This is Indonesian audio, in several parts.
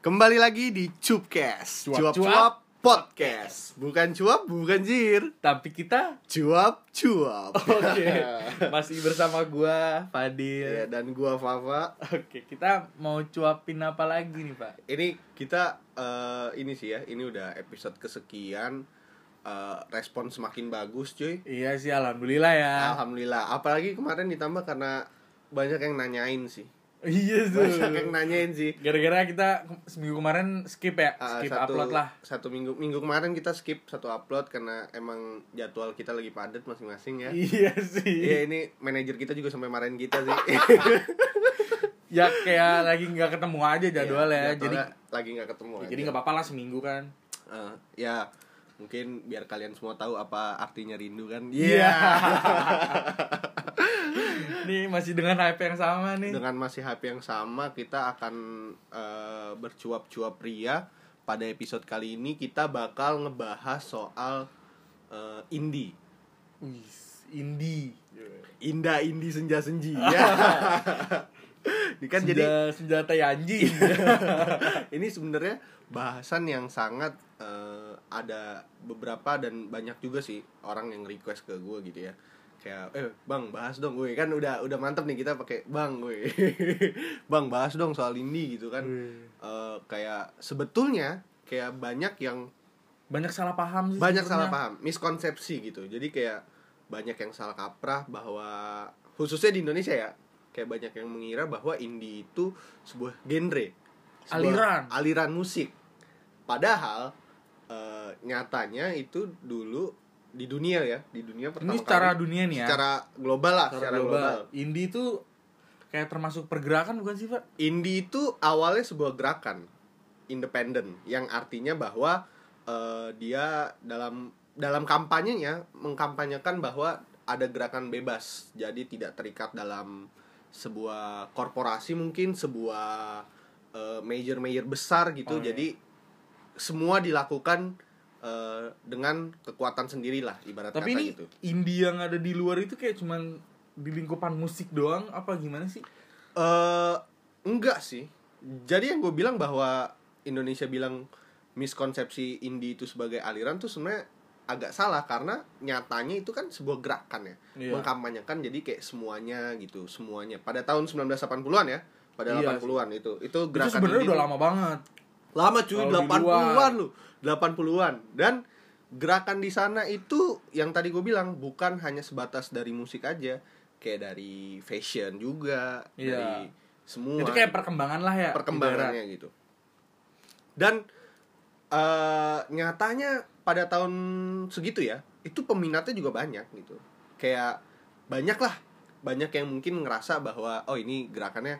Kembali lagi di Cupcast, Cuap-cuap cuap-cuap podcast. Bukan cuap, bukan jir. Tapi kita Cuap-cuap. oke Iya. masih bersama Ya, gua Fadil. dan gua Fafa. Oke, kita mau cuapin apa lagi nih, Pak? Ini kita eh, ini sih ya, ini udah episode kesekian. Eh, respon semakin bagus, cuy. Iya sih, alhamdulillah ya. Alhamdulillah. Apalagi kemarin ditambah karena banyak yang nanyain sih. Iya Banyak yang tuh. nanyain sih. Gara-gara kita ke- seminggu kemarin skip ya, Ah, skip satu, upload lah. Satu minggu minggu kemarin kita skip satu upload karena emang jadwal kita lagi padat masing-masing ya. Iya Iya sih. ini manajer kita juga sampai marahin kita sih. Iya, Ya kayak lagi nggak ketemu aja jadwal ya. Iya, Jadi jadwalnya lagi nggak ketemu. ya, aja. jadi nggak apa-apa lah seminggu kan. Eh, ya mungkin biar kalian semua tahu apa artinya rindu kan. Iya. Nih masih dengan hype yang sama nih. Iya. Dengan masih HP yang sama kita akan eh, bercuap-cuap ria. Pada episode kali ini kita bakal ngebahas soal eh, indie. Wih, indie. Indah indie senja-senji ya. Ini kan jadi Senja- senjata ya anjing. ini sebenarnya bahasan yang sangat eh, ada beberapa dan banyak juga sih orang yang request ke gue gitu ya kayak eh bang bahas dong gue kan udah udah mantep nih kita pakai bang gue bang bahas dong soal ini gitu kan Iya. Eh, kayak sebetulnya kayak banyak yang banyak salah paham sih banyak salah sebenarnya. paham miskonsepsi gitu jadi kayak banyak yang salah kaprah bahwa khususnya di Indonesia ya kayak banyak yang mengira bahwa indie itu sebuah genre Aliran. sebuah aliran musik padahal eh, nyatanya itu dulu di dunia ya di dunia pertama ini secara kali, dunia nih ya secara global lah secara, global. indie itu kayak termasuk pergerakan bukan sih pak Indie itu awalnya sebuah gerakan independen yang artinya bahwa eh, dia dalam dalam kampanyenya mengkampanyekan bahwa ada gerakan bebas jadi tidak terikat dalam sebuah korporasi mungkin sebuah eh, major-major besar gitu Oh, iya. jadi semua dilakukan eh, dengan kekuatan sendirilah ibarat tapi kata ini gitu. indie yang ada di luar itu kayak cuman di lingkupan musik doang apa gimana sih eh enggak sih. Jadi yang gue bilang bahwa Indonesia bilang miskonsepsi indie itu sebagai aliran tuh sebenarnya agak salah karena nyatanya itu kan sebuah gerakan ya. Iya. Mengkampanyekan jadi kayak semuanya gitu, semuanya. Pada tahun 1980-an ya, pada Iya 80-an itu. Itu itu gerakan sebenarnya indie udah tuh- lama banget Lama cuy, Kalau di 80-an lu. 80-an. Dan gerakan di sana itu yang tadi gue bilang bukan hanya sebatas dari musik aja, kayak dari fashion juga, Iya. dari semua itu kayak perkembangan lah ya perkembangannya gitu. Dan eh, nyatanya pada tahun segitu ya, itu peminatnya juga banyak gitu. Kayak banyak lah, banyak yang mungkin ngerasa bahwa oh ini gerakannya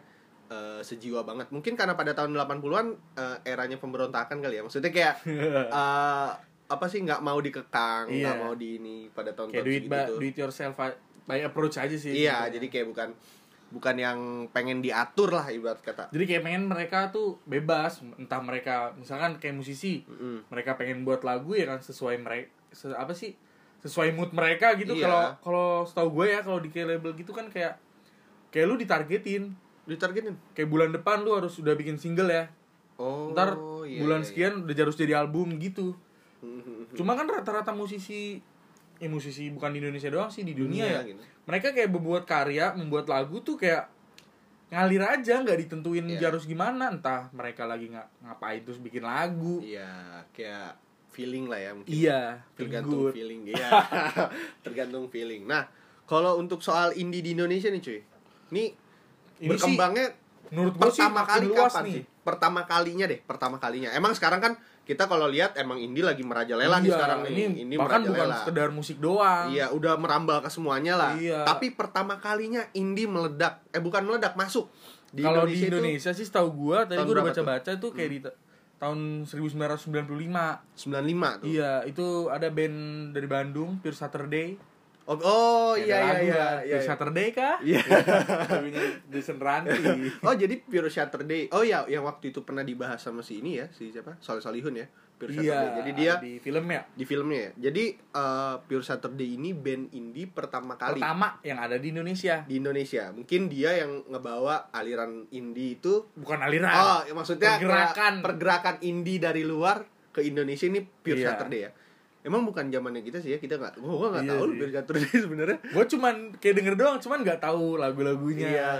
eh, sejiwa banget. Mungkin karena pada tahun 80-an eh, eranya pemberontakan kali ya. Maksudnya kayak ibarat. eh, apa sih nggak mau dikekang, nggak Iya. mau di ini pada tahun-tahun kayak do it, segitu. by, tuh. do it yourself by approach aja sih gitu. Iya, gitu. jadi kayak bukan bukan yang pengen diatur lah ibarat kata. jadi kayak pengen mereka tuh bebas entah mereka misalkan kayak musisi Mm. mereka pengen buat lagu ya kan sesuai mereka apa sih sesuai mood mereka gitu Iya. kalau kalau setahu gue ya kalau di kayak label gitu kan kayak kayak lu ditargetin ditargetin kayak bulan depan lu harus udah bikin single ya oh ntar iya, bulan iya, sekian udah harus jadi album gitu iya. cuma kan rata-rata musisi ya musisi bukan di Indonesia doang sih di dunia, Dunia, ya gitu. mereka kayak membuat karya membuat lagu tuh kayak ngalir aja nggak ditentuin Iya. harus gimana entah mereka lagi nggak ngapain terus bikin lagu iya kayak feeling lah ya mungkin iya tergantung good. feeling iya tergantung feeling nah kalau untuk soal indie di Indonesia nih cuy ini, Ini sih- berkembangnya menurut gue sih pertama makin kali luas kapan nih sih pertama kalinya deh pertama kalinya emang sekarang kan kita kalau lihat emang indie lagi merajalela nih Iya, sekarang nih ini, bahkan bukan sekedar musik doang Iya, udah merambah ke semuanya lah. Iya. Tapi pertama kalinya indie meledak. Eh bukan meledak, masuk. kalau di itu Indonesia sih setahu gua tadi Tahun gua udah berapa Hmm. baca-baca tuh kayak di ta- tahun 1995 95 tuh. iya itu ada band dari Bandung Pure Saturday Oh, oh iya Kayak ada iya iya. lagu kan, iya, Pure iya. Saturday kah? Iya. Lagunya Jason Ranti. Oh jadi Pure Saturday. Oh ya, yang waktu itu pernah dibahas sama si ini ya, si siapa? Soleh Solihun ya. Pure Saturday. Iya, Jadi dia di film ya. di filmnya ya. Jadi eh, Pure Saturday ini band indie pertama kali Pertama yang ada di Indonesia. di Indonesia. Mungkin dia yang ngebawa aliran indie itu Bukan aliran. Oh, ya maksudnya Pergerakan. per- pergerakan indie dari luar ke Indonesia ini Pure Iya. Saturday ya. Emang bukan zamannya kita sih ya, kita nggak, gua gua nggak Iya tahu sih. Pure Saturday sebenarnya. Gue cuman kayak denger doang, cuman nggak tahu lagu-lagunya. Iya.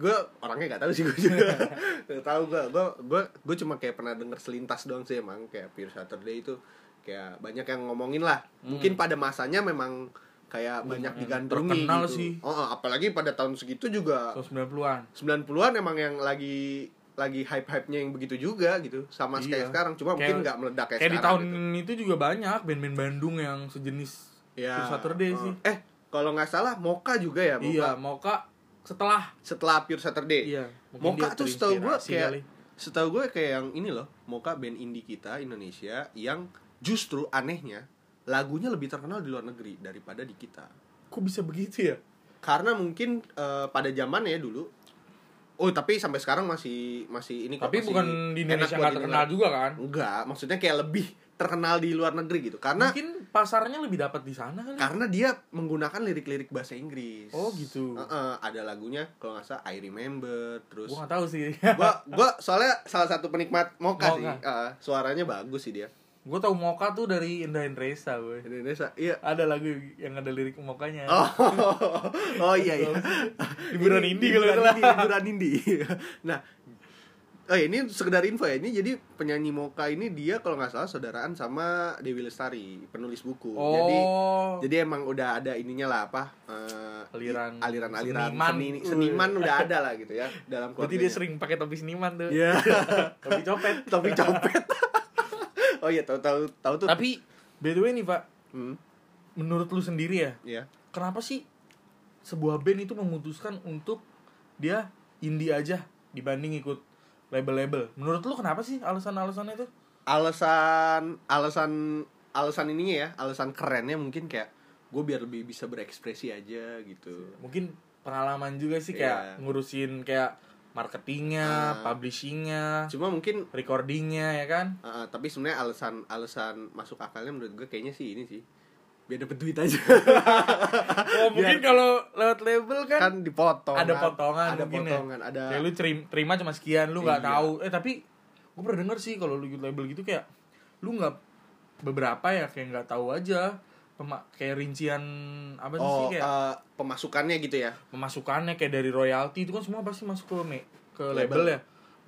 Gue orangnya nggak tahu sih gue juga. Nggak tahu gue, gue gue gue cuma kayak pernah denger selintas doang sih emang kayak Pure Saturday itu kayak banyak yang ngomongin lah. Hmm. Mungkin pada masanya memang kayak banyak digandrungi Iya, terkenal gitu. sih. Oh, oh, apalagi pada tahun segitu juga Tahun 90-an. 90-an emang yang lagi lagi hype-hype-nya yang begitu juga gitu sama Iya. kayak sekarang cuma mungkin Kayak- nggak meledak kayak, Kayak di sekarang tahun itu juga banyak band-band Bandung yang sejenis gitu. ya. Pure Saturday Oh. sih. eh kalau nggak salah Moka juga ya Moka Iya, Moka setelah setelah Pure Saturday iya. mungkin Moka dia tuh setahu gue terinspirasi kayak kali. setahu gue kayak yang ini loh Moka band indie kita Indonesia yang justru anehnya lagunya lebih terkenal di luar negeri daripada di kita kok bisa begitu ya? karena mungkin eh, pada zaman ya dulu oh tapi sampai sekarang masih masih ini kok, Tapi masih bukan di enak Indonesia buat nggak terkenal didengar. juga kan? Enggak, maksudnya kayak lebih terkenal di luar negeri gitu. Karena Mungkin pasarnya lebih dapat di sana kali. karena dia menggunakan lirik-lirik bahasa Inggris. Oh, gitu. Heeh, ada lagunya kalau nggak salah I Remember terus Gue nggak tahu sih. gua gua soalnya salah satu penikmat Moka, Moka. sih. Heeh, suaranya bagus sih dia. gue tahu Moka tuh dari Indah Endresa, boy. Indonesia. Iya. Ada lagu yang ada lirik Mokanya. Oh, oh iya iya. Hiburan Ini indie kalau nggak hiburan salah. indie, hiburan indie. Nah, oh ya, ini sekedar info ya. Ini jadi penyanyi Moka ini dia kalau nggak salah saudaraan sama Dewi Lestari, penulis buku. Oh. Jadi jadi emang udah ada ininya lah apa eh, i- Aliran- aliran-aliran seniman. seni seniman udah ada lah gitu ya dalam Berarti keluarganya. dia sering pakai topi seniman tuh. Iya. topi copet. Tapi copet. oh iya tahu tahu tahu tuh. Tapi by the way nih, Pak, Hmm, menurut lu sendiri ya, iya. kenapa sih sebuah band itu memutuskan untuk dia indie aja dibanding ikut label-label? Menurut lu kenapa sih alasan-alasannya itu? Alasan alasan alasan ininya ya, alasan kerennya mungkin kayak gue biar lebih bisa berekspresi aja gitu. Mungkin pengalaman juga sih kayak Iya. ngurusin kayak Ah. marketingnya, publishingnya, Cuma mungkin recordingnya ya kan? eh, tapi sebenarnya alasan alasan masuk akalnya menurut gue kayaknya sih ini sih biar dapet duit aja Oh, mungkin kalau lewat label kan, kan dipotong ada potongan ada mungkin ya. potongan ada kayak lu terim- terima cuma sekian lu nggak Iya. tahu eh tapi gue pernah denger sih kalau lu ikut label gitu kayak lu nggak beberapa ya kayak nggak tahu aja pema- kayak rincian apa sih oh kayak eh, pemasukannya gitu ya pemasukannya kayak dari royalti itu kan semua pasti masuk ke me- ke Label. label, ya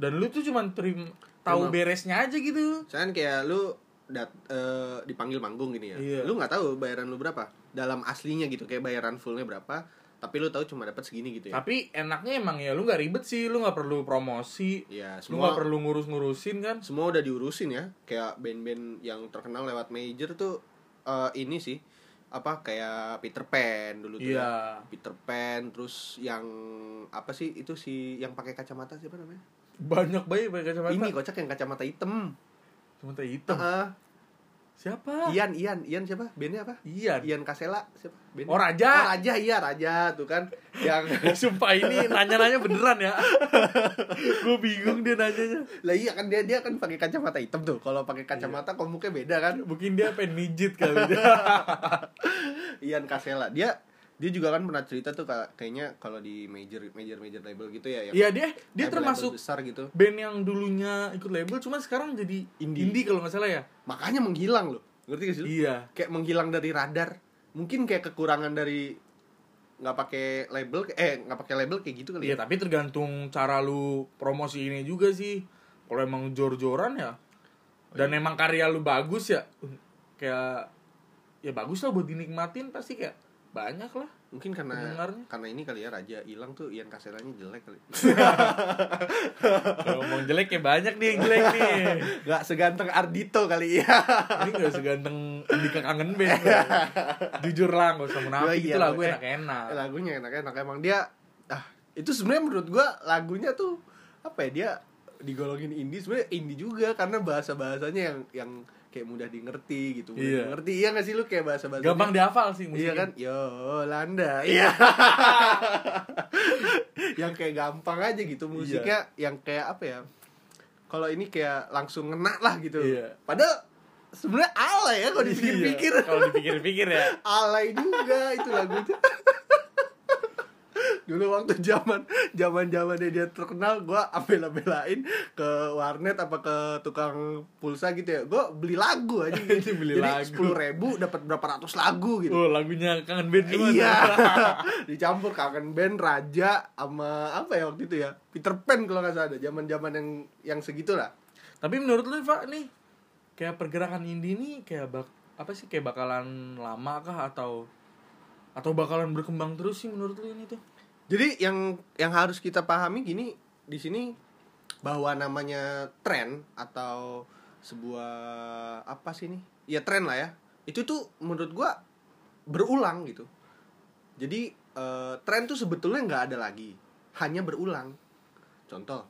dan lu tuh cuman terim tahu Cuma- beresnya aja gitu Soalnya kayak lu dat- eh, dipanggil manggung gini ya. Iya. Lu nggak tahu bayaran lu berapa. Dalam aslinya gitu kayak bayaran fullnya berapa, tapi lu tahu cuma dapat segini gitu ya. tapi enaknya emang ya lu nggak ribet sih lu nggak perlu promosi Iya, lu nggak semua perlu ngurus-ngurusin kan semua udah diurusin ya. Kayak band-band yang terkenal lewat major tuh eh, ini sih apa kayak Peter Pan dulu tuh ya. iya Peter Pan terus yang apa sih itu si yang pakai kacamata siapa namanya? banyak bayi pakai kacamata Ini Ah, kocak yang kacamata hitam. kacamata hitam Heeh. siapa Ian Ian Ian siapa? Bandnya apa? iya Ian Kasela siapa? Band- oh Oh, raja raja iya raja tuh kan yang Sumpah ini nanya-nanya beneran ya. gue bingung dia nanyanya. lah iya kan dia dia kan pakai kacamata hitam tuh kalau pakai kacamata komuknya beda kan Mungkin dia pengen mijit kali Ian Kasela dia dia juga kan pernah cerita tuh ka- kayaknya kalau di major major major label gitu ya yang Iya dia dia label-label termasuk besar gitu band yang dulunya ikut label cuman sekarang jadi indie, Indie. kalau nggak salah ya. makanya menghilang loh ngerti gak sih lu? Iya. kayak menghilang dari radar mungkin kayak kekurangan dari nggak pakai label eh nggak pakai label kayak gitu kali Iya ya tapi tergantung cara lu promosi ini juga sih. Kalau emang jor-joran ya Oh, iya. dan emang karya lu bagus ya kayak ya bagus lah buat dinikmatin pasti kayak banyak lah. mungkin karena Pendengarnya. karena ini kali ya raja hilang tuh Ian Kaselanya jelek kali Kalau ngomong jelek ya banyak nih yang jelek nih. nggak seganteng Ardito kali ya ini gak seganteng Andika kangen band bro. jujur lah gak usah Gua menafik iya, itu lagu gua- enak-enak Eh, lagunya enak-enak emang dia ah itu sebenarnya menurut gua lagunya tuh apa ya dia digolongin indie sebenarnya indie juga karena bahasa bahasanya yang yang kayak mudah di ngerti gitu mudah Iya. di ngerti iya gak sih lu kayak bahasa bahasa Gampang dihafal sih iya musiknya. kan Yolanda iya yang kayak gampang aja gitu musiknya Iya. yang kayak apa ya kalau ini kayak langsung ngena lah gitu Iya. padanya sebenarnya alay ya kalau dipikir-pikir Iya, Kalau dipikir-pikir ya. alay juga itu lagunya dulu waktu zaman zaman zamannya dia terkenal gua apel belain ke warnet apa ke tukang pulsa gitu ya gua beli lagu aja gitu Beli jadi lagu. sepuluh ribu dapat berapa ratus lagu gitu Oh, lagunya kangen band cuma. iya dicampur kangen band raja sama apa ya waktu itu ya Peter Pan kalau nggak salah ada zaman zaman yang yang segitu lah Tapi menurut lu, Pak, nih kayak pergerakan indie nih kayak bak apa sih kayak bakalan lama kah atau atau bakalan berkembang terus sih menurut lu ini tuh? Jadi yang yang harus kita pahami gini di sini bahwa namanya tren atau sebuah apa sih ini? Ya tren lah ya. Itu tuh menurut gua berulang gitu. Jadi eh, tren tuh sebetulnya nggak ada lagi, hanya berulang. Contoh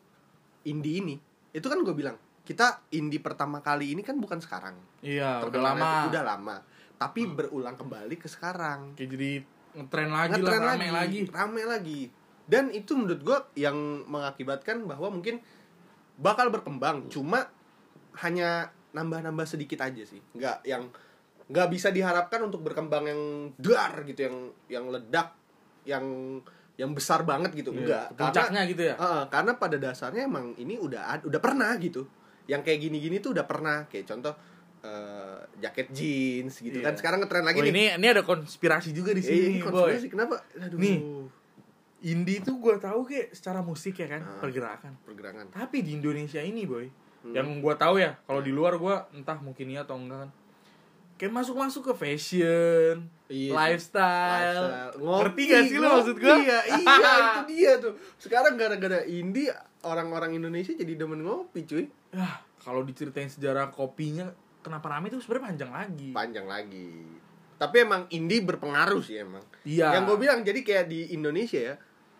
indie ini, itu kan gue bilang kita indie pertama kali ini kan bukan sekarang. Iya, udah Terkenalnya lama. Hmm. tuh udah lama. Tapi berulang kembali ke sekarang Kayak jadi ngetren lagi ngetren lah, rame lagi. rame lagi dan itu menurut gue yang mengakibatkan bahwa mungkin bakal berkembang cuma hanya nambah-nambah sedikit aja sih nggak yang nggak bisa diharapkan untuk berkembang yang dar gitu yang yang ledak yang yang besar banget gitu Iya, enggak ke Puncaknya gitu ya. Heeh, karena pada dasarnya emang ini udah ad- udah pernah gitu. Yang kayak gini-gini tuh udah pernah. Kayak contoh eh, jaket jeans gitu Iya. kan. Sekarang ngetren lagi Oh, nih. ini ini ada konspirasi juga di Eh, ini sini, boy. konspirasi kenapa? Aduh. Nih. Indie tuh gua tahu kayak secara musik ya kan, Ah. pergerakan. Pergerakan. Tapi di Indonesia ini, boy, Hmm. yang gua tahu ya, kalau di luar gua entah mungkin iya atau enggak kan. Kayak masuk-masuk ke fashion, Iya sih. lifestyle. Lifestyle. Ngerti gak sih lo maksud gua? Iya, iya itu dia tuh. Sekarang gara-gara indie orang-orang Indonesia jadi demen ngopi, cuy. Yah, Ah, kalau diceritain sejarah kopinya kenapa rame itu sebenarnya panjang lagi. Panjang lagi. Tapi emang indie berpengaruh sih emang. Iya. Yang gue bilang jadi kayak di Indonesia ya,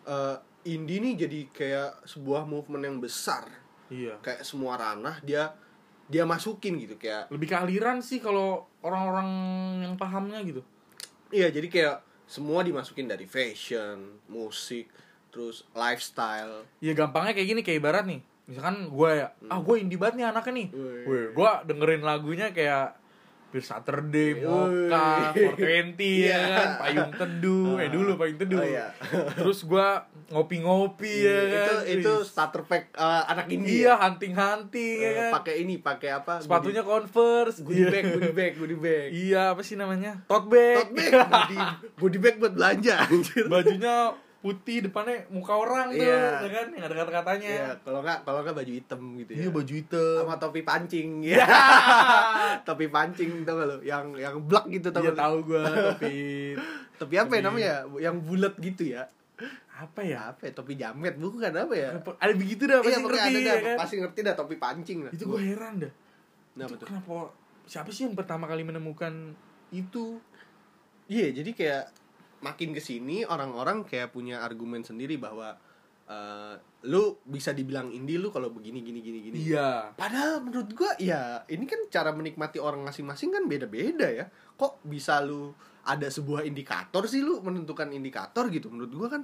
eh, indie nih jadi kayak sebuah movement yang besar. Iya. Kayak semua ranah dia dia masukin gitu kayak Lebih ke aliran sih kalau orang-orang yang pahamnya gitu. iya jadi kayak semua dimasukin dari fashion, musik, terus lifestyle. Iya gampangnya kayak gini kayak ibarat nih. Misalkan gua ya, ah gua indie banget nih anaknya nih. Hmm. Wih. Wih, gua dengerin lagunya kayak Pir Saturday, Moka, Wih. 420 ya Iya. kan, Payung Teduh, eh dulu Payung Teduh. Oh, iya. Terus gua ngopi-ngopi ya itu kan. itu Wih. starter pack eh, anak indie. Iya, ya. hunting-hunting ya Eh, kan. pakai ini, pakai apa? Sepatunya Converse. goodie Iya. bag, goodie bag, goodie bag. Iya, apa sih namanya? Tote bag. Tote bag, goodie, goodie bag buat belanja anjir. Bajunya putih, depannya muka orang tuh, Iya. ya kan? Yang ada kata-katanya. Iya, kalau nggak kalau nggak baju hitam gitu ya. Iya, baju hitam. sama topi pancing ya topi pancing tau gak lo yang yang black gitu tau gak Iya, lo? tahu gua tapi topi apa ya namanya yang bulat gitu ya apa ya? apa ya topi jamet bukan apa ya Ada begitu dah pasti iya pokoknya ngerti ada ya dah kan? pasti ngerti dah topi pancing lah Itu gua heran dah. nah Itu betul kenapa siapa sih yang pertama kali menemukan itu? iya jadi kayak makin kesini orang-orang kayak punya argumen sendiri bahwa eh, lu bisa dibilang indie lu kalau begini gini gini gini Iya. Padahal menurut gua ya ini kan cara menikmati orang masing-masing kan beda-beda ya. Kok bisa lu ada sebuah indikator sih lu menentukan indikator gitu. Menurut gua kan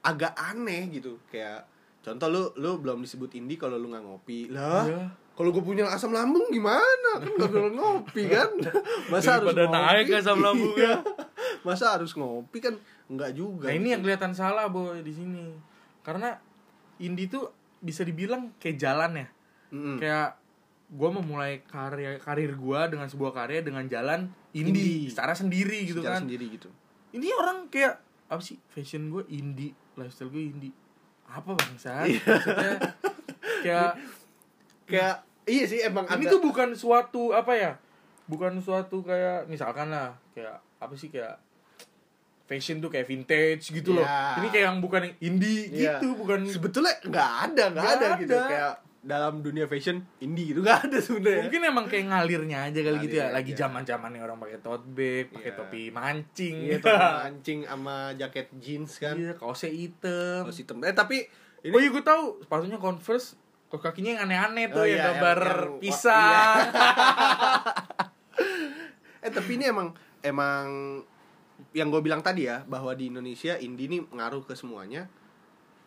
agak aneh gitu. Kayak contoh lu lu belum disebut indie kalau lu nggak ngopi. Lah, Iya. kalau gue punya asam lambung gimana? Kan gak boleh ngopi kan. Masa harus Daripada naik asam Iya. lambungnya. Masa harus ngopi kan nggak juga. Nah, ini yang kelihatan salah, Boy, di sini. Karena indie tuh bisa dibilang kayak jalan ya. Mm-mm. kayak gue memulai karya karir gue dengan sebuah karya dengan jalan Indie. indie, secara sendiri gitu Secara kan sendiri gitu. ini orang kayak apa sih fashion gue indie lifestyle gue indie apa bangsa Iya. maksudnya kayak Kayak iya sih emang ini agak- tuh bukan suatu apa ya bukan suatu kayak misalkan lah kayak apa sih kayak fashion tuh kayak vintage gitu loh Iya. ini kayak yang bukan yang indie Iya. gitu bukan sebetulnya nggak ada nggak Nggak ada, gitu ada. kayak dalam dunia fashion indie gitu nggak ada sebenarnya Mungkin emang kayak ngalirnya aja kali gitu ya. Ngalir Lagi aja. zaman-zamannya orang pakai tote bag, pakai Iya. topi mancing iya gitu. topi mancing sama jaket jeans kan Iya, kaosnya hitam. Kaos hitam eh tapi Oh ini iya gue tahu, sepatunya Converse, kaos kakinya yang aneh-aneh Oh tuh iya, yang yang- gambar yang- pisang. Eh, tapi ini emang emang yang gue bilang tadi ya bahwa di Indonesia indie ini ngaruh ke semuanya.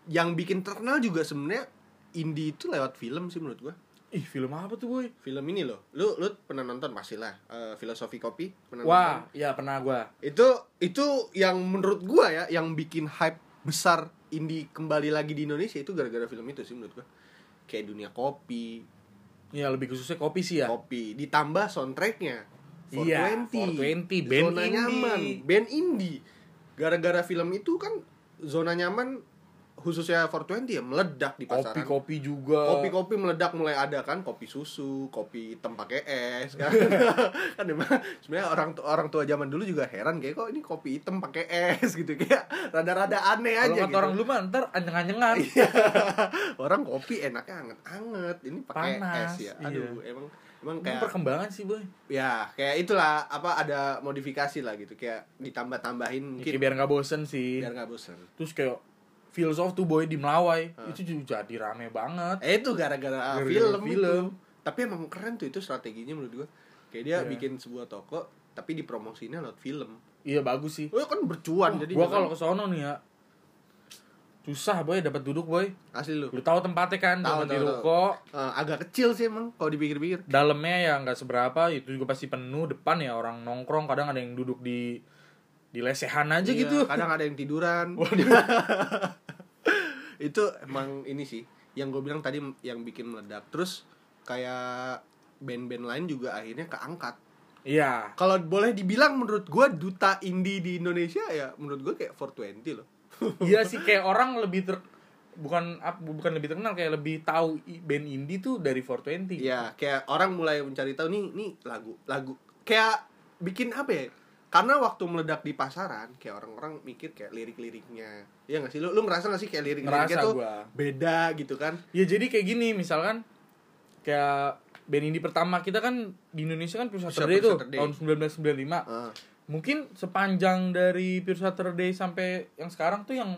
Yang bikin terkenal juga sebenarnya indie itu lewat film sih menurut gue. Ih, film apa tuh, Boy? Film ini loh, lu lu pernah nonton pastilah eh, filosofi kopi pernah nonton? Wah, ya pernah gua. itu itu yang menurut gua ya yang bikin hype besar indie kembali lagi di Indonesia itu gara-gara film itu sih menurut gua kayak dunia kopi Ya lebih khususnya kopi sih ya. kopi ditambah soundtracknya Iya, 420, band zona indie. nyaman band indie gara-gara film itu kan zona nyaman khususnya 420 ya meledak di pasaran Kopi-kopi juga. kopi-kopi meledak mulai ada kan kopi susu kopi hitam pakai es kan kan emang sebenarnya orang tu- orang tua zaman dulu juga heran kayak kok ini kopi hitam pakai es gitu kayak rada-rada aneh Kalau aja kata gitu Iya. orang dulu mah ntar anjeng-anjengan. orang kopi enaknya anget-anget ini pakai es Panas, Iya. ya aduh emang emang Ini kayak kan perkembangan sih, Boy. ya kayak itulah apa ada modifikasi lah gitu kayak ditambah-tambahin Kayak mungkin biar nggak bosen sih. biar nggak bosan Terus kayak Feels of tuh boy di Melawai itu juga jadi rame banget. Eh itu gara-gara ah, Gara-gara film, film. itu. Tapi emang keren tuh itu strateginya menurut gua. Kayak dia Iya. bikin sebuah toko tapi dipromosinya lewat film. Iya bagus sih. Oh kan bercuan jadi gua jangan- kalau ke sono nih ya susah boy dapat duduk boy. asli lu. Lu tahu tempatnya kan, Tahu, cuma di tahu, tahu. ruko. Eh, agak kecil sih emang kalau dipikir-pikir. Dalamnya ya nggak seberapa, itu juga pasti penuh. Depan ya orang nongkrong, kadang ada yang duduk di di lesehan aja Iya, gitu. Kadang ada yang tiduran. itu emang ini sih yang gue bilang tadi yang bikin meledak. Terus kayak band-band lain juga akhirnya keangkat. Iya. Kalau boleh dibilang menurut gua duta indie di Indonesia ya menurut gua kayak 420 loh. Iya sih kayak orang lebih ter bukan ap- bukan lebih terkenal kayak lebih tahu i- band indie tuh dari 420. Iya, kayak orang mulai mencari tahu nih nih lagu lagu kayak bikin apa ya? Karena waktu meledak di pasaran, kayak orang-orang mikir kayak lirik-liriknya. Iya gak sih? Lu, lu ngerasa gak sih kayak lirik-liriknya Ngerasa tuh gua. beda gitu kan? Ya jadi kayak gini misalkan kayak band indie pertama kita kan di Indonesia kan Pure Pure Saturday tuh Saturday. Eh. tahun 1995. Heeh. Mungkin sepanjang dari Pure Saturday sampai yang sekarang tuh yang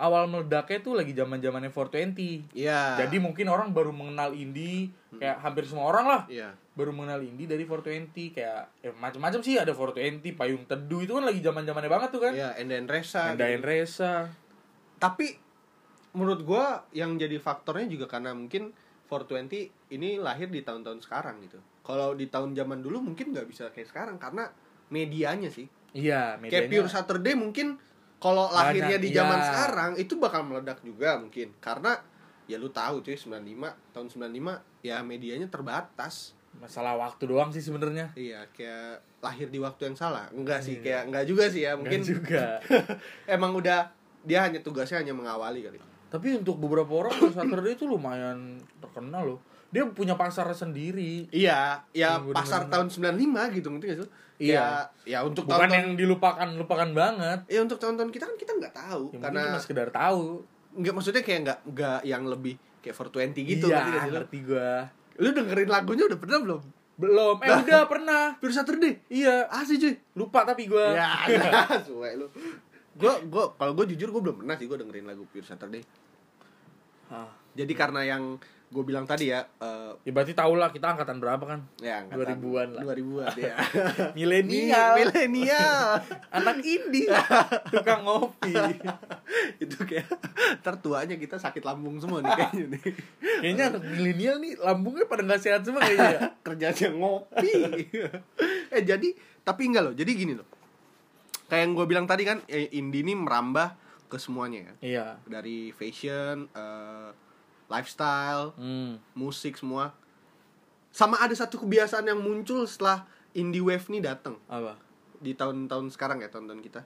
awal meledaknya tuh lagi zaman-zamannya 420. Iya. Jadi mungkin orang baru mengenal indie kayak hampir semua orang lah iya. baru mengenal indie dari 420 kayak eh, macam-macam sih ada 420 payung teduh itu kan lagi zaman-zamannya banget tuh kan Iya, Enden Resa. Endain gitu. Resa Tapi menurut gua yang jadi faktornya juga karena mungkin 420 ini lahir di tahun-tahun sekarang gitu. Kalau di tahun zaman dulu mungkin nggak bisa kayak sekarang karena medianya sih. Iya kayak Pure Saturday mungkin kalau lahirnya di Banyak, zaman iya. sekarang itu bakal meledak juga mungkin karena ya lu tahu cuy 95 tahun 95 ya medianya terbatas Masalah waktu doang sih sebenarnya iya kayak lahir di waktu yang salah enggak sih kayak enggak juga sih ya mungkin Iya. Nggak juga emang udah dia hanya tugasnya hanya mengawali kali Tapi untuk beberapa orang Pure Saturday itu lumayan terkenal loh Dia punya pasar sendiri iya ya Iya, pasar tahun 95 gitu ngerti gak sih lu? Iya. ya, ya untuk Bukan tahun-tahun yang dilupakan-lupakan banget ya untuk tahun-tahun kita kan kita nggak tahu Yang karena Karena cuma sekedar tahu nggak maksudnya kayak nggak nggak yang lebih kayak 420 gitu Iya ngerti nggak sih lu? ngerti gua Lu dengerin lagunya udah pernah belum? Belum Eh udah pernah Pure Saturday. Iya Asli cuy. Lupa tapi gua Ya, nah, suwe lu. Gua gua kalau gua jujur gua belum pernah sih gua dengerin lagu Pure Saturday. Ah. Jadi karena yang gua bilang tadi ya eh Ya berarti tau lah kita angkatan berapa kan ya angkatan 2000-an lah. 2000-an ya. Milenial Milenial. anak indie tukang ngopi itu kayak tertuanya kita sakit lambung semua nih kayaknya nih. kayaknya anak milenial nih lambungnya pada nggak sehat semua kayaknya ya? Kerjanya ngopi. eh jadi tapi enggak loh. Jadi gini loh. Kayak yang gua bilang tadi kan eh, indie ini merambah ke semuanya ya. iya dari fashion, eh, lifestyle, hmm. musik semua. Sama ada satu kebiasaan yang muncul setelah indie wave nih datang apa di tahun-tahun sekarang ya tahun-tahun kita.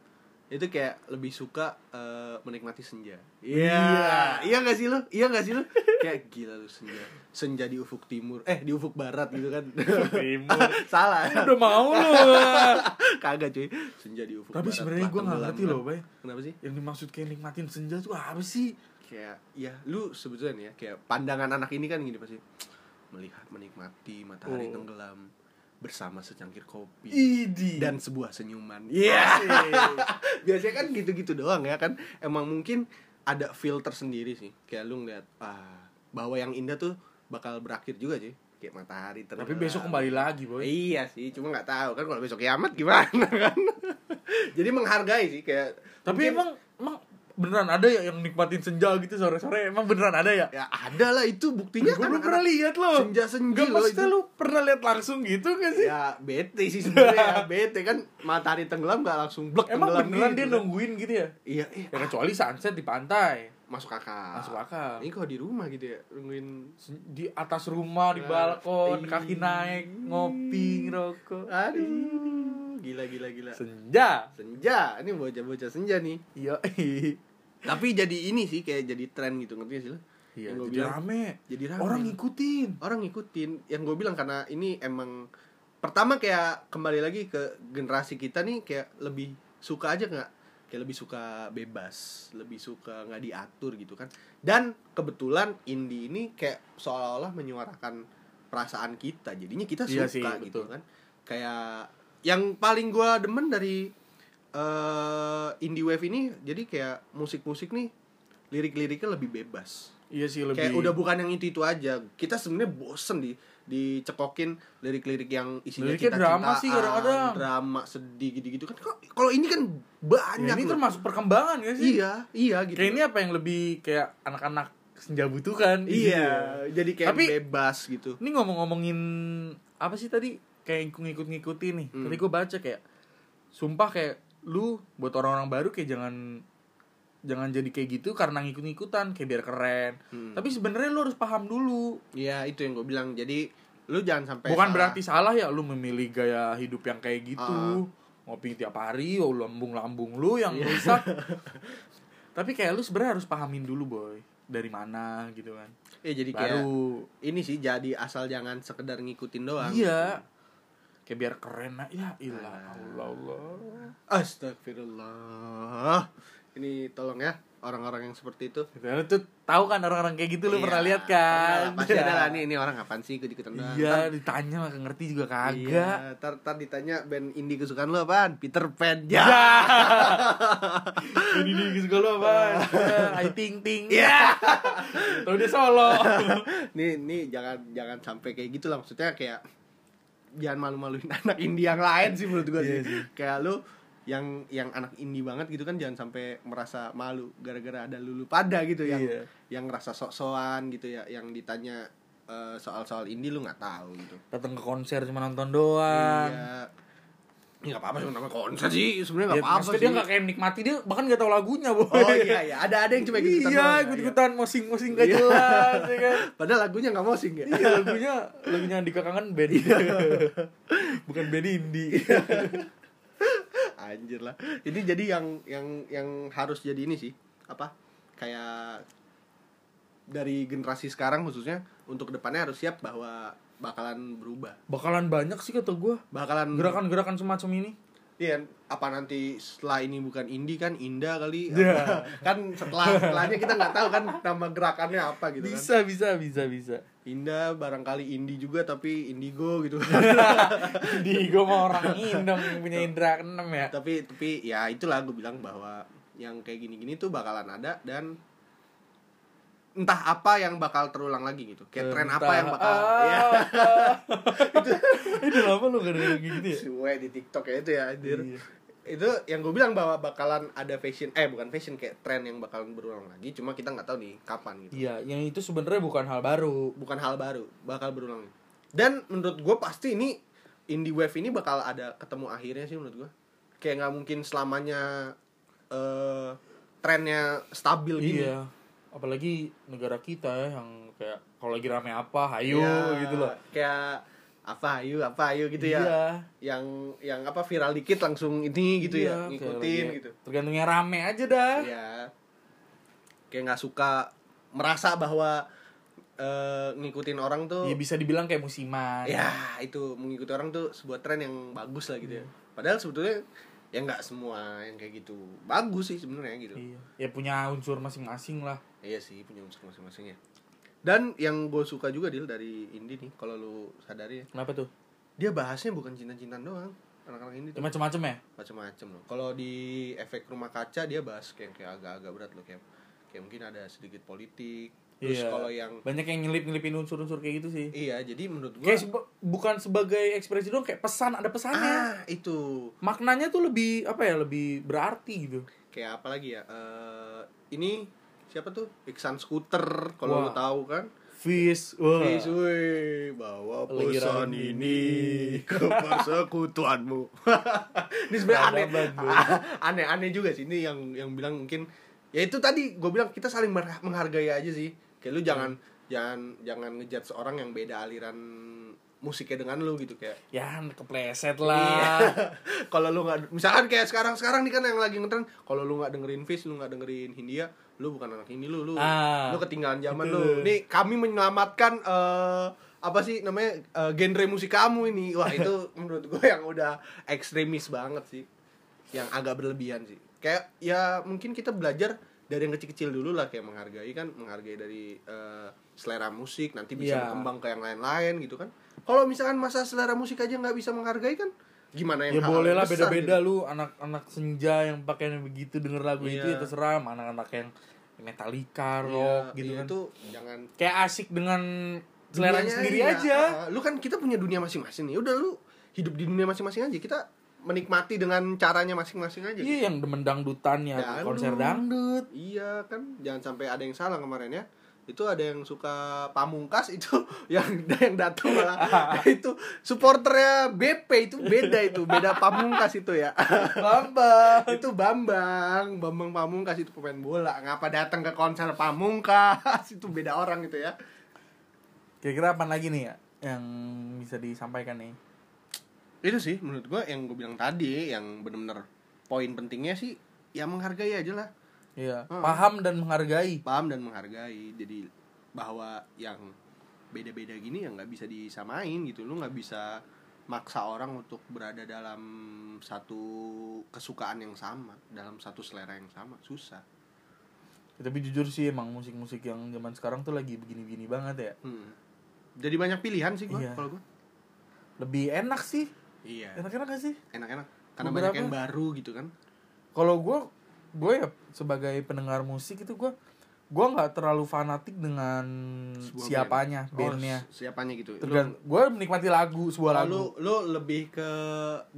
Itu kayak lebih suka eh, menikmati senja. Iya, iya gak sih lu? Iya gak sih lu? kayak gila lu senja. Senja di ufuk timur, eh di ufuk barat gitu kan. Timur. Salah. udah mau lu Kagak cuy. Senja di ufuk barat. tapi sebenarnya telah gue nggak tenggelam, ngerti kan. loh bay Kenapa sih? yang dimaksud kayak nikmatin senja tuh apa sih kayak ya lu sebetulnya nih ya kayak pandangan anak ini kan gini pasti melihat menikmati matahari Oh. tenggelam bersama secangkir kopi idi dan sebuah senyuman iya biasanya kan gitu-gitu doang ya kan emang mungkin ada filter sendiri sih kayak lu ngeliat ah bahwa yang indah tuh bakal berakhir juga sih kayak matahari terbenam. Tapi besok kembali lagi, Boy. Iya sih, cuma nggak tahu kan kalau besok kiamat gimana kan. Jadi menghargai sih kayak Tapi mungkin- emang emang beneran ada ya yang nikmatin senja gitu sore-sore emang beneran ada ya? ya ada lah itu buktinya Gue kan belum pernah lihat loh. senja-senji Gak loh maksudnya itu. lu pernah lihat langsung gitu gak sih? Ya bete sih sebenarnya, ya, bete kan matahari tenggelam nggak langsung blek Emang tenggelam beneran dia gitu. nungguin gitu ya? Iya, iya. Ya kecuali sunset di pantai. Masuk akal. Masuk akal. Ini kok di rumah gitu ya, nungguin Se- Di atas rumah, Nah, di balkon, iya. kaki naik, ngopi, ngerokok. Ah. Aduh, gila gila gila. Senja. Senja, ini bocah-bocah senja nih. Iya. Tapi jadi ini sih kayak jadi tren gitu, ngerti gak sih lo? Iya, Yang gua jadi bilang, rame. Jadi rame. Orang ngikutin. orang ngikutin yang gue bilang karena ini emang pertama kayak kembali lagi ke generasi kita nih kayak lebih suka aja nggak kayak lebih suka bebas lebih suka nggak diatur gitu kan dan kebetulan indie ini kayak seolah-olah menyuarakan perasaan kita jadinya kita suka Iya sih, gitu betul. kan kayak yang paling gue demen dari eh, indie wave ini jadi kayak musik-musik nih lirik-liriknya lebih bebas Iya sih lebih. kayak udah bukan yang itu itu aja kita sebenarnya bosen di dicekokin lirik-lirik yang isinya Liriknya drama sih kadang-kadang. drama sedih gitu-gitu kan Kok- kalau ini kan banyak Ya, ini loh. termasuk perkembangan gak sih? iya iya gitu Kayak ini apa yang lebih kayak anak-anak senja butuhkan. iya jadi kayak Tapi- bebas gitu Ini ngomong-ngomongin apa sih tadi? Kayak ngikut-ngikutin nih. Hmm. Tadi gue baca kayak sumpah kayak lu buat orang-orang baru kayak jangan jangan jadi kayak gitu karena ngikut-ngikutan kayak biar keren. Hmm. Tapi sebenarnya lu harus paham dulu. iya itu yang gue bilang jadi lu jangan sampai Bukan salah. berarti salah ya lu memilih gaya hidup yang Ah. kayak Iya. gitu. Ngopi tiap hari, oh, lambung-lambung lu yang rusak. Tapi kayak lu sebenarnya harus pahamin dulu, boy. Dari mana gitu kan. ya jadi kayak Baru ini sih jadi asal jangan sekedar ngikutin doang iya. Kayak biar keren lah. Ya ilah, Ah. Allah Allah. astagfirullah ini tolong ya orang-orang yang seperti itu Gitu. Lu tuh tahu kan orang-orang kayak gitu lu Iya, pernah lihat pernah kan? lah, Pasti Iya. ada lah nih ini orang apaan sih ikut-ikutan doang. Iya, Ntar- ditanya mah nggak ngerti juga Iya, kagak. ntar, ntar ditanya band indie kesukaan lu apaan? Peter Pan. Ya. Ya. Ini nih gitu suka lu apa? Ayo ting ting. Ya. Tahu dia solo. nih, nih jangan jangan sampai kayak gitu lah maksudnya kayak jangan malu-maluin anak indie yang lain sih menurut gua Iya sih. Kayak lu yang yang anak indie banget gitu kan jangan sampai merasa malu gara-gara ada lulu pada gitu yang Iya. yang ngerasa sok-sokan gitu ya yang ditanya eh, soal-soal indie lu nggak tahu gitu. Datang ke konser cuma nonton doang. Iya. Ini nggak apa-apa sih namanya konser sih. Sebenarnya Ya, nggak apa-apa maksudnya sih. dia gak kayak nikmati dia bahkan gak tahu lagunya boy Oh iya iya, ada ada yang cuma ikut iya ikut-ikutan mosing-mosing gak Iya. jelas ya kan Padahal lagunya nggak mosing ya. iya lagunya lagunya Andika kangen band bukan band indie Anjir lah. Ini jadi yang yang yang harus jadi ini sih. Apa? Kayak dari generasi sekarang khususnya untuk depannya harus siap bahwa bakalan berubah. bakalan banyak sih kata gue Bakalan gerakan-gerakan semacam ini Iya, apa nanti setelah ini bukan indie kan Indah kali. Iya. kan setelah setelahnya kita nggak tahu kan nama gerakannya apa gitu kan. bisa bisa bisa bisa Indah barangkali indie juga tapi indigo gitu. di gue mau orang indong yang punya indra keenam ya tapi tapi ya itulah gue bilang bahwa yang kayak gini-gini tuh bakalan ada dan entah apa yang bakal terulang lagi gitu kayak tren apa yang bakal ya Ah, itu lama lu gak ada gitu ya Iya. suwe di TikTok ya itu ya anjir Iya. itu yang gue bilang bahwa bakalan ada fashion eh bukan fashion kayak tren yang bakalan berulang lagi cuma kita nggak tahu nih kapan gitu Iya, yang itu sebenarnya bukan hal baru. bukan hal baru bakal berulang dan menurut gue pasti ini indie wave ini bakal ada ketemu akhirnya sih menurut gue kayak nggak mungkin selamanya eh trennya stabil gini Iya. Apalagi negara kita ya yang kayak kalau lagi rame apa, hayo Iya, gitu loh. kayak apa ayu apa ayu gitu ya Iya. yang yang apa viral dikit langsung ini gitu Iya, ya kayak ngikutin lagi- gitu Tergantungnya rame aja dah. ya kayak nggak suka merasa bahwa eh, ngikutin orang tuh Ya bisa dibilang kayak musiman. ya itu mengikuti orang tuh sebuah tren yang bagus lah gitu ya Hmm. padahal sebetulnya ya nggak semua yang kayak gitu bagus sih sebenarnya gitu Iya. Ya punya unsur masing-masing lah. Iya sih punya unsur masing-masing ya dan yang gue suka juga deal dari indie nih kalau lu sadari ya Kenapa tuh? dia bahasnya bukan cinta-cintaan doang anak-anak indie Ya tuh macam-macam ya. macam-macam loh kalau di efek rumah kaca dia bahas kayak kayak agak-agak berat loh kayak kayak mungkin ada sedikit politik terus Iya. kalau yang banyak yang nyelip-nyelipin unsur-unsur kayak gitu sih iya jadi menurut gue kayak sebe- bukan sebagai ekspresi doang kayak pesan ada pesannya ah itu maknanya tuh lebih apa ya lebih berarti gitu kayak apa lagi ya Eh, ini siapa tuh Iksan Scooter kalau lu Wah. tahu kan fish wah Please, weh, bawa Lagi pesan rame. ini ke persekutuanmu. ini sebenarnya aneh, Banget, Bro. aneh, aneh juga sih. Ini yang yang bilang mungkin ya itu tadi gue bilang kita saling mer- menghargai aja sih. Kayak Hmm. lu jangan jangan jangan ngejat seorang yang beda aliran musiknya dengan lu gitu kayak. ya kepleset lah Iya. kalau lu nggak misalkan kayak sekarang sekarang nih kan yang lagi ngetren kalau lu nggak dengerin Fish lu nggak dengerin Hindia lu bukan anak ini lu lu Ah, lu ketinggalan zaman gitu. lu nih kami menyelamatkan eh, apa sih namanya eh, genre musik kamu ini wah itu menurut gue yang udah ekstremis banget sih yang agak berlebihan sih kayak ya mungkin kita belajar dari yang kecil-kecil dulu lah kayak menghargai kan menghargai dari eh, selera musik nanti bisa Iya. berkembang ke yang lain-lain gitu kan kalau misalkan masa selera musik aja nggak bisa menghargai kan gimana yang ya hal-hal boleh lah besar beda-beda gitu? lu anak-anak senja yang pakainya begitu denger lagu itu Iya. ya terserah sama anak-anak yang metalika Iya, rock gitu iya, kan itu jangan kayak asik dengan selera Dunianya, sendiri iya. aja Ah, lu kan kita punya dunia masing-masing nih udah lu hidup di dunia masing-masing aja kita menikmati dengan caranya masing-masing aja gitu. iya yang demen dangdutannya Dangdut. konser dangdut Iya kan, jangan sampai ada yang salah kemarin ya. Itu ada yang suka pamungkas itu yang yang datang malah itu supporternya BP itu beda itu, beda pamungkas itu ya. Bambang. itu Bambang, Bambang Pamungkas itu pemain bola. Ngapa datang ke konser pamungkas itu beda orang gitu ya. kira-kira apa lagi nih ya yang bisa disampaikan nih Itu sih menurut gua yang gue bilang tadi yang bener-bener poin pentingnya sih ya menghargai aja lah Iya, Hmm. paham dan menghargai. paham dan menghargai jadi bahwa yang beda-beda gini ya nggak bisa disamain gitu lu nggak bisa maksa orang untuk berada dalam satu kesukaan yang sama dalam satu selera yang sama susah Tapi jujur sih emang musik-musik yang zaman sekarang tuh lagi begini-begini banget ya. Hmm. jadi banyak pilihan sih gua Iya. kalau gua Lebih enak sih. iya Enak-enak gak sih? enak-enak karena Beberapa- banyak yang baru gitu kan Kalau gue, gue ya sebagai pendengar musik itu gue gue nggak terlalu fanatik dengan Sebuah siapanya, band. Oh, bandnya. si- siapanya gitu Lu- Tergan, gue menikmati lagu, sebuah oh, lagu. lu, lu lebih ke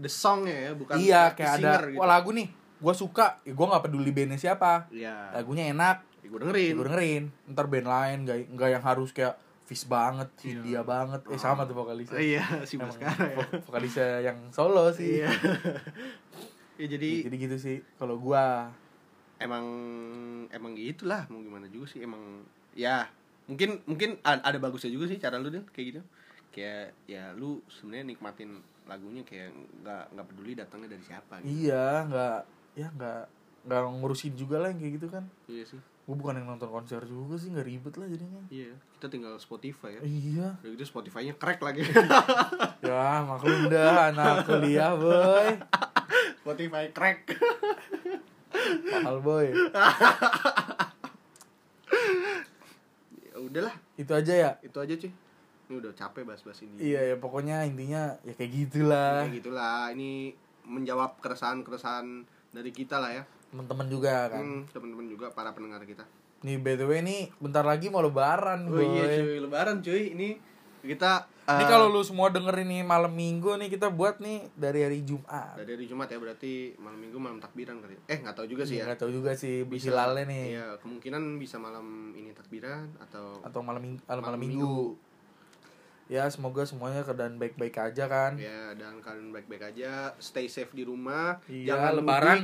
the song ya bukan iya, kayak ada, singer gitu. wah lagu nih, gue suka, ya, gue nggak peduli bandnya siapa. iya Lagunya enak, gue dengerin gue dengerin. Ntar band lain, nggak nggak yang harus kayak fish banget, Iya. India banget, eh sama tuh vokalisnya. iya sih Emang sekarang ya vok- vokalisnya yang solo sih. iya ya jadi Jadi gitu sih kalau gua. emang emang gitulah mau gimana juga sih emang ya mungkin mungkin a- ada bagusnya juga sih cara lu Din, kayak gitu kayak ya lu sebenarnya nikmatin lagunya kayak nggak nggak peduli datangnya dari siapa gitu Iya, nggak ya nggak nggak ngurusin juga lah yang kayak gitu kan. iya sih Gua bukan yang nonton konser juga sih, nggak ribet lah jadinya. iya kita tinggal Spotify ya Iya, udah gitu Spotify-nya crack lagi ya maklum dah anak kuliah boy, Spotify crack mahal boy. ya, udahlah Itu aja ya. itu aja cuy ini udah capek bahas-bahas ini Iya ya pokoknya intinya ya kayak gitulah. ya gitulah ini menjawab keresahan keresahan dari kita lah ya Temen-temen juga kan. hmm, teman-teman juga para pendengar kita Nih btw nih bentar lagi mau lebaran Oh boy. iya cuy, lebaran cuy. Ini kita eh, Ini kalau lu semua dengerin nih malam minggu nih kita buat nih dari hari Jumat. dari hari Jumat ya berarti malam Minggu malam takbiran kali. Eh nggak tahu juga sih ya. Nggak tahu juga sih hilalnya Iya, nih Iya, kemungkinan bisa malam ini takbiran atau atau malam ming- eh, malam, malam minggu. Ya semoga semuanya keadaan baik-baik aja kan. Ya, dan kalian baik-baik aja, stay safe di rumah. Iya, Jangan lebaran.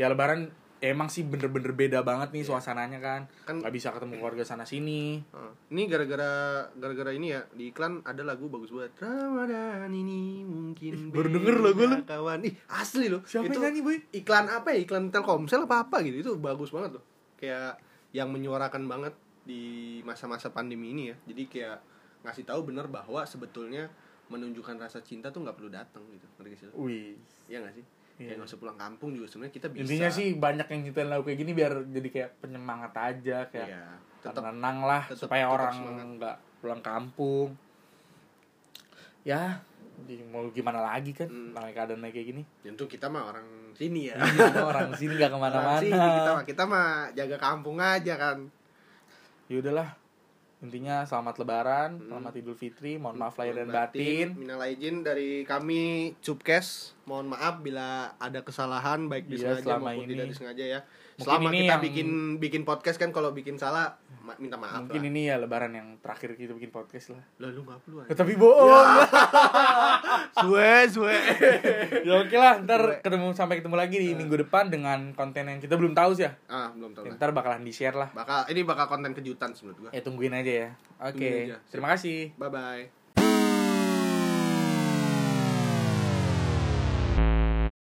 Ya lebaran ya emang sih bener-bener beda banget nih suasananya kan. Iya. Kan- Nggak bisa ketemu keluarga sana sini. mudik. Eh, Ini gara-gara gara-gara ini ya di iklan ada lagu bagus banget. Ramadan ini mungkin baru denger loh gua beda, lu. kawan. Ih, asli loh. Siapa itu yang nyanyi, Boy? iklan apa ya? Iklan Telkomsel apa apa gitu. Itu bagus banget loh. Kayak yang menyuarakan banget di masa-masa pandemi ini ya. Jadi kayak ngasih tahu bener bahwa sebetulnya menunjukkan rasa cinta tuh nggak perlu datang gitu. Ngerti nggak sih? lo? Wih. Iya nggak sih? Iya. Kayak nggak usah pulang kampung juga sebenarnya kita bisa. Intinya sih banyak yang nyiptain lagu kayak gini biar jadi kayak penyemangat aja kayak Iya. Tetap tenang lah tetep- supaya tetep orang semangat. nggak pulang kampung. Ya, di- mau gimana lagi kan Hmm. namanya keadaannya kayak gini Tentu kita mah orang sini ya. Iya, orang sini gak Orang sini kita kemana-mana mah kita mah jaga kampung aja kan. ya udahlah intinya selamat lebaran Hmm. selamat idul fitri mohon maaf lahir dan batin Minal aidin dari kami Cupkes. Mohon maaf bila ada kesalahan baik Iya, disengaja selama maupun ini. tidak disengaja ya. Mungkin selama ini kita yang- bikin bikin podcast kan kalau bikin salah ma- minta maaf mungkin lah. ini ya lebaran yang terakhir kita bikin podcast lah Lah, lu maaf lu Eh, aja. tapi bohong Suwe suwe. ya oke lah Iya. ntar ketemu sampai ketemu lagi di minggu depan dengan konten yang kita belum tahu sih ya ah, belum tahu. lah. ntar bakalan di share lah Iya. Bakal ini bakal konten kejutan sih menurut gua. ya tungguin aja ya oke Tungguin aja. terima kasih Bye bye.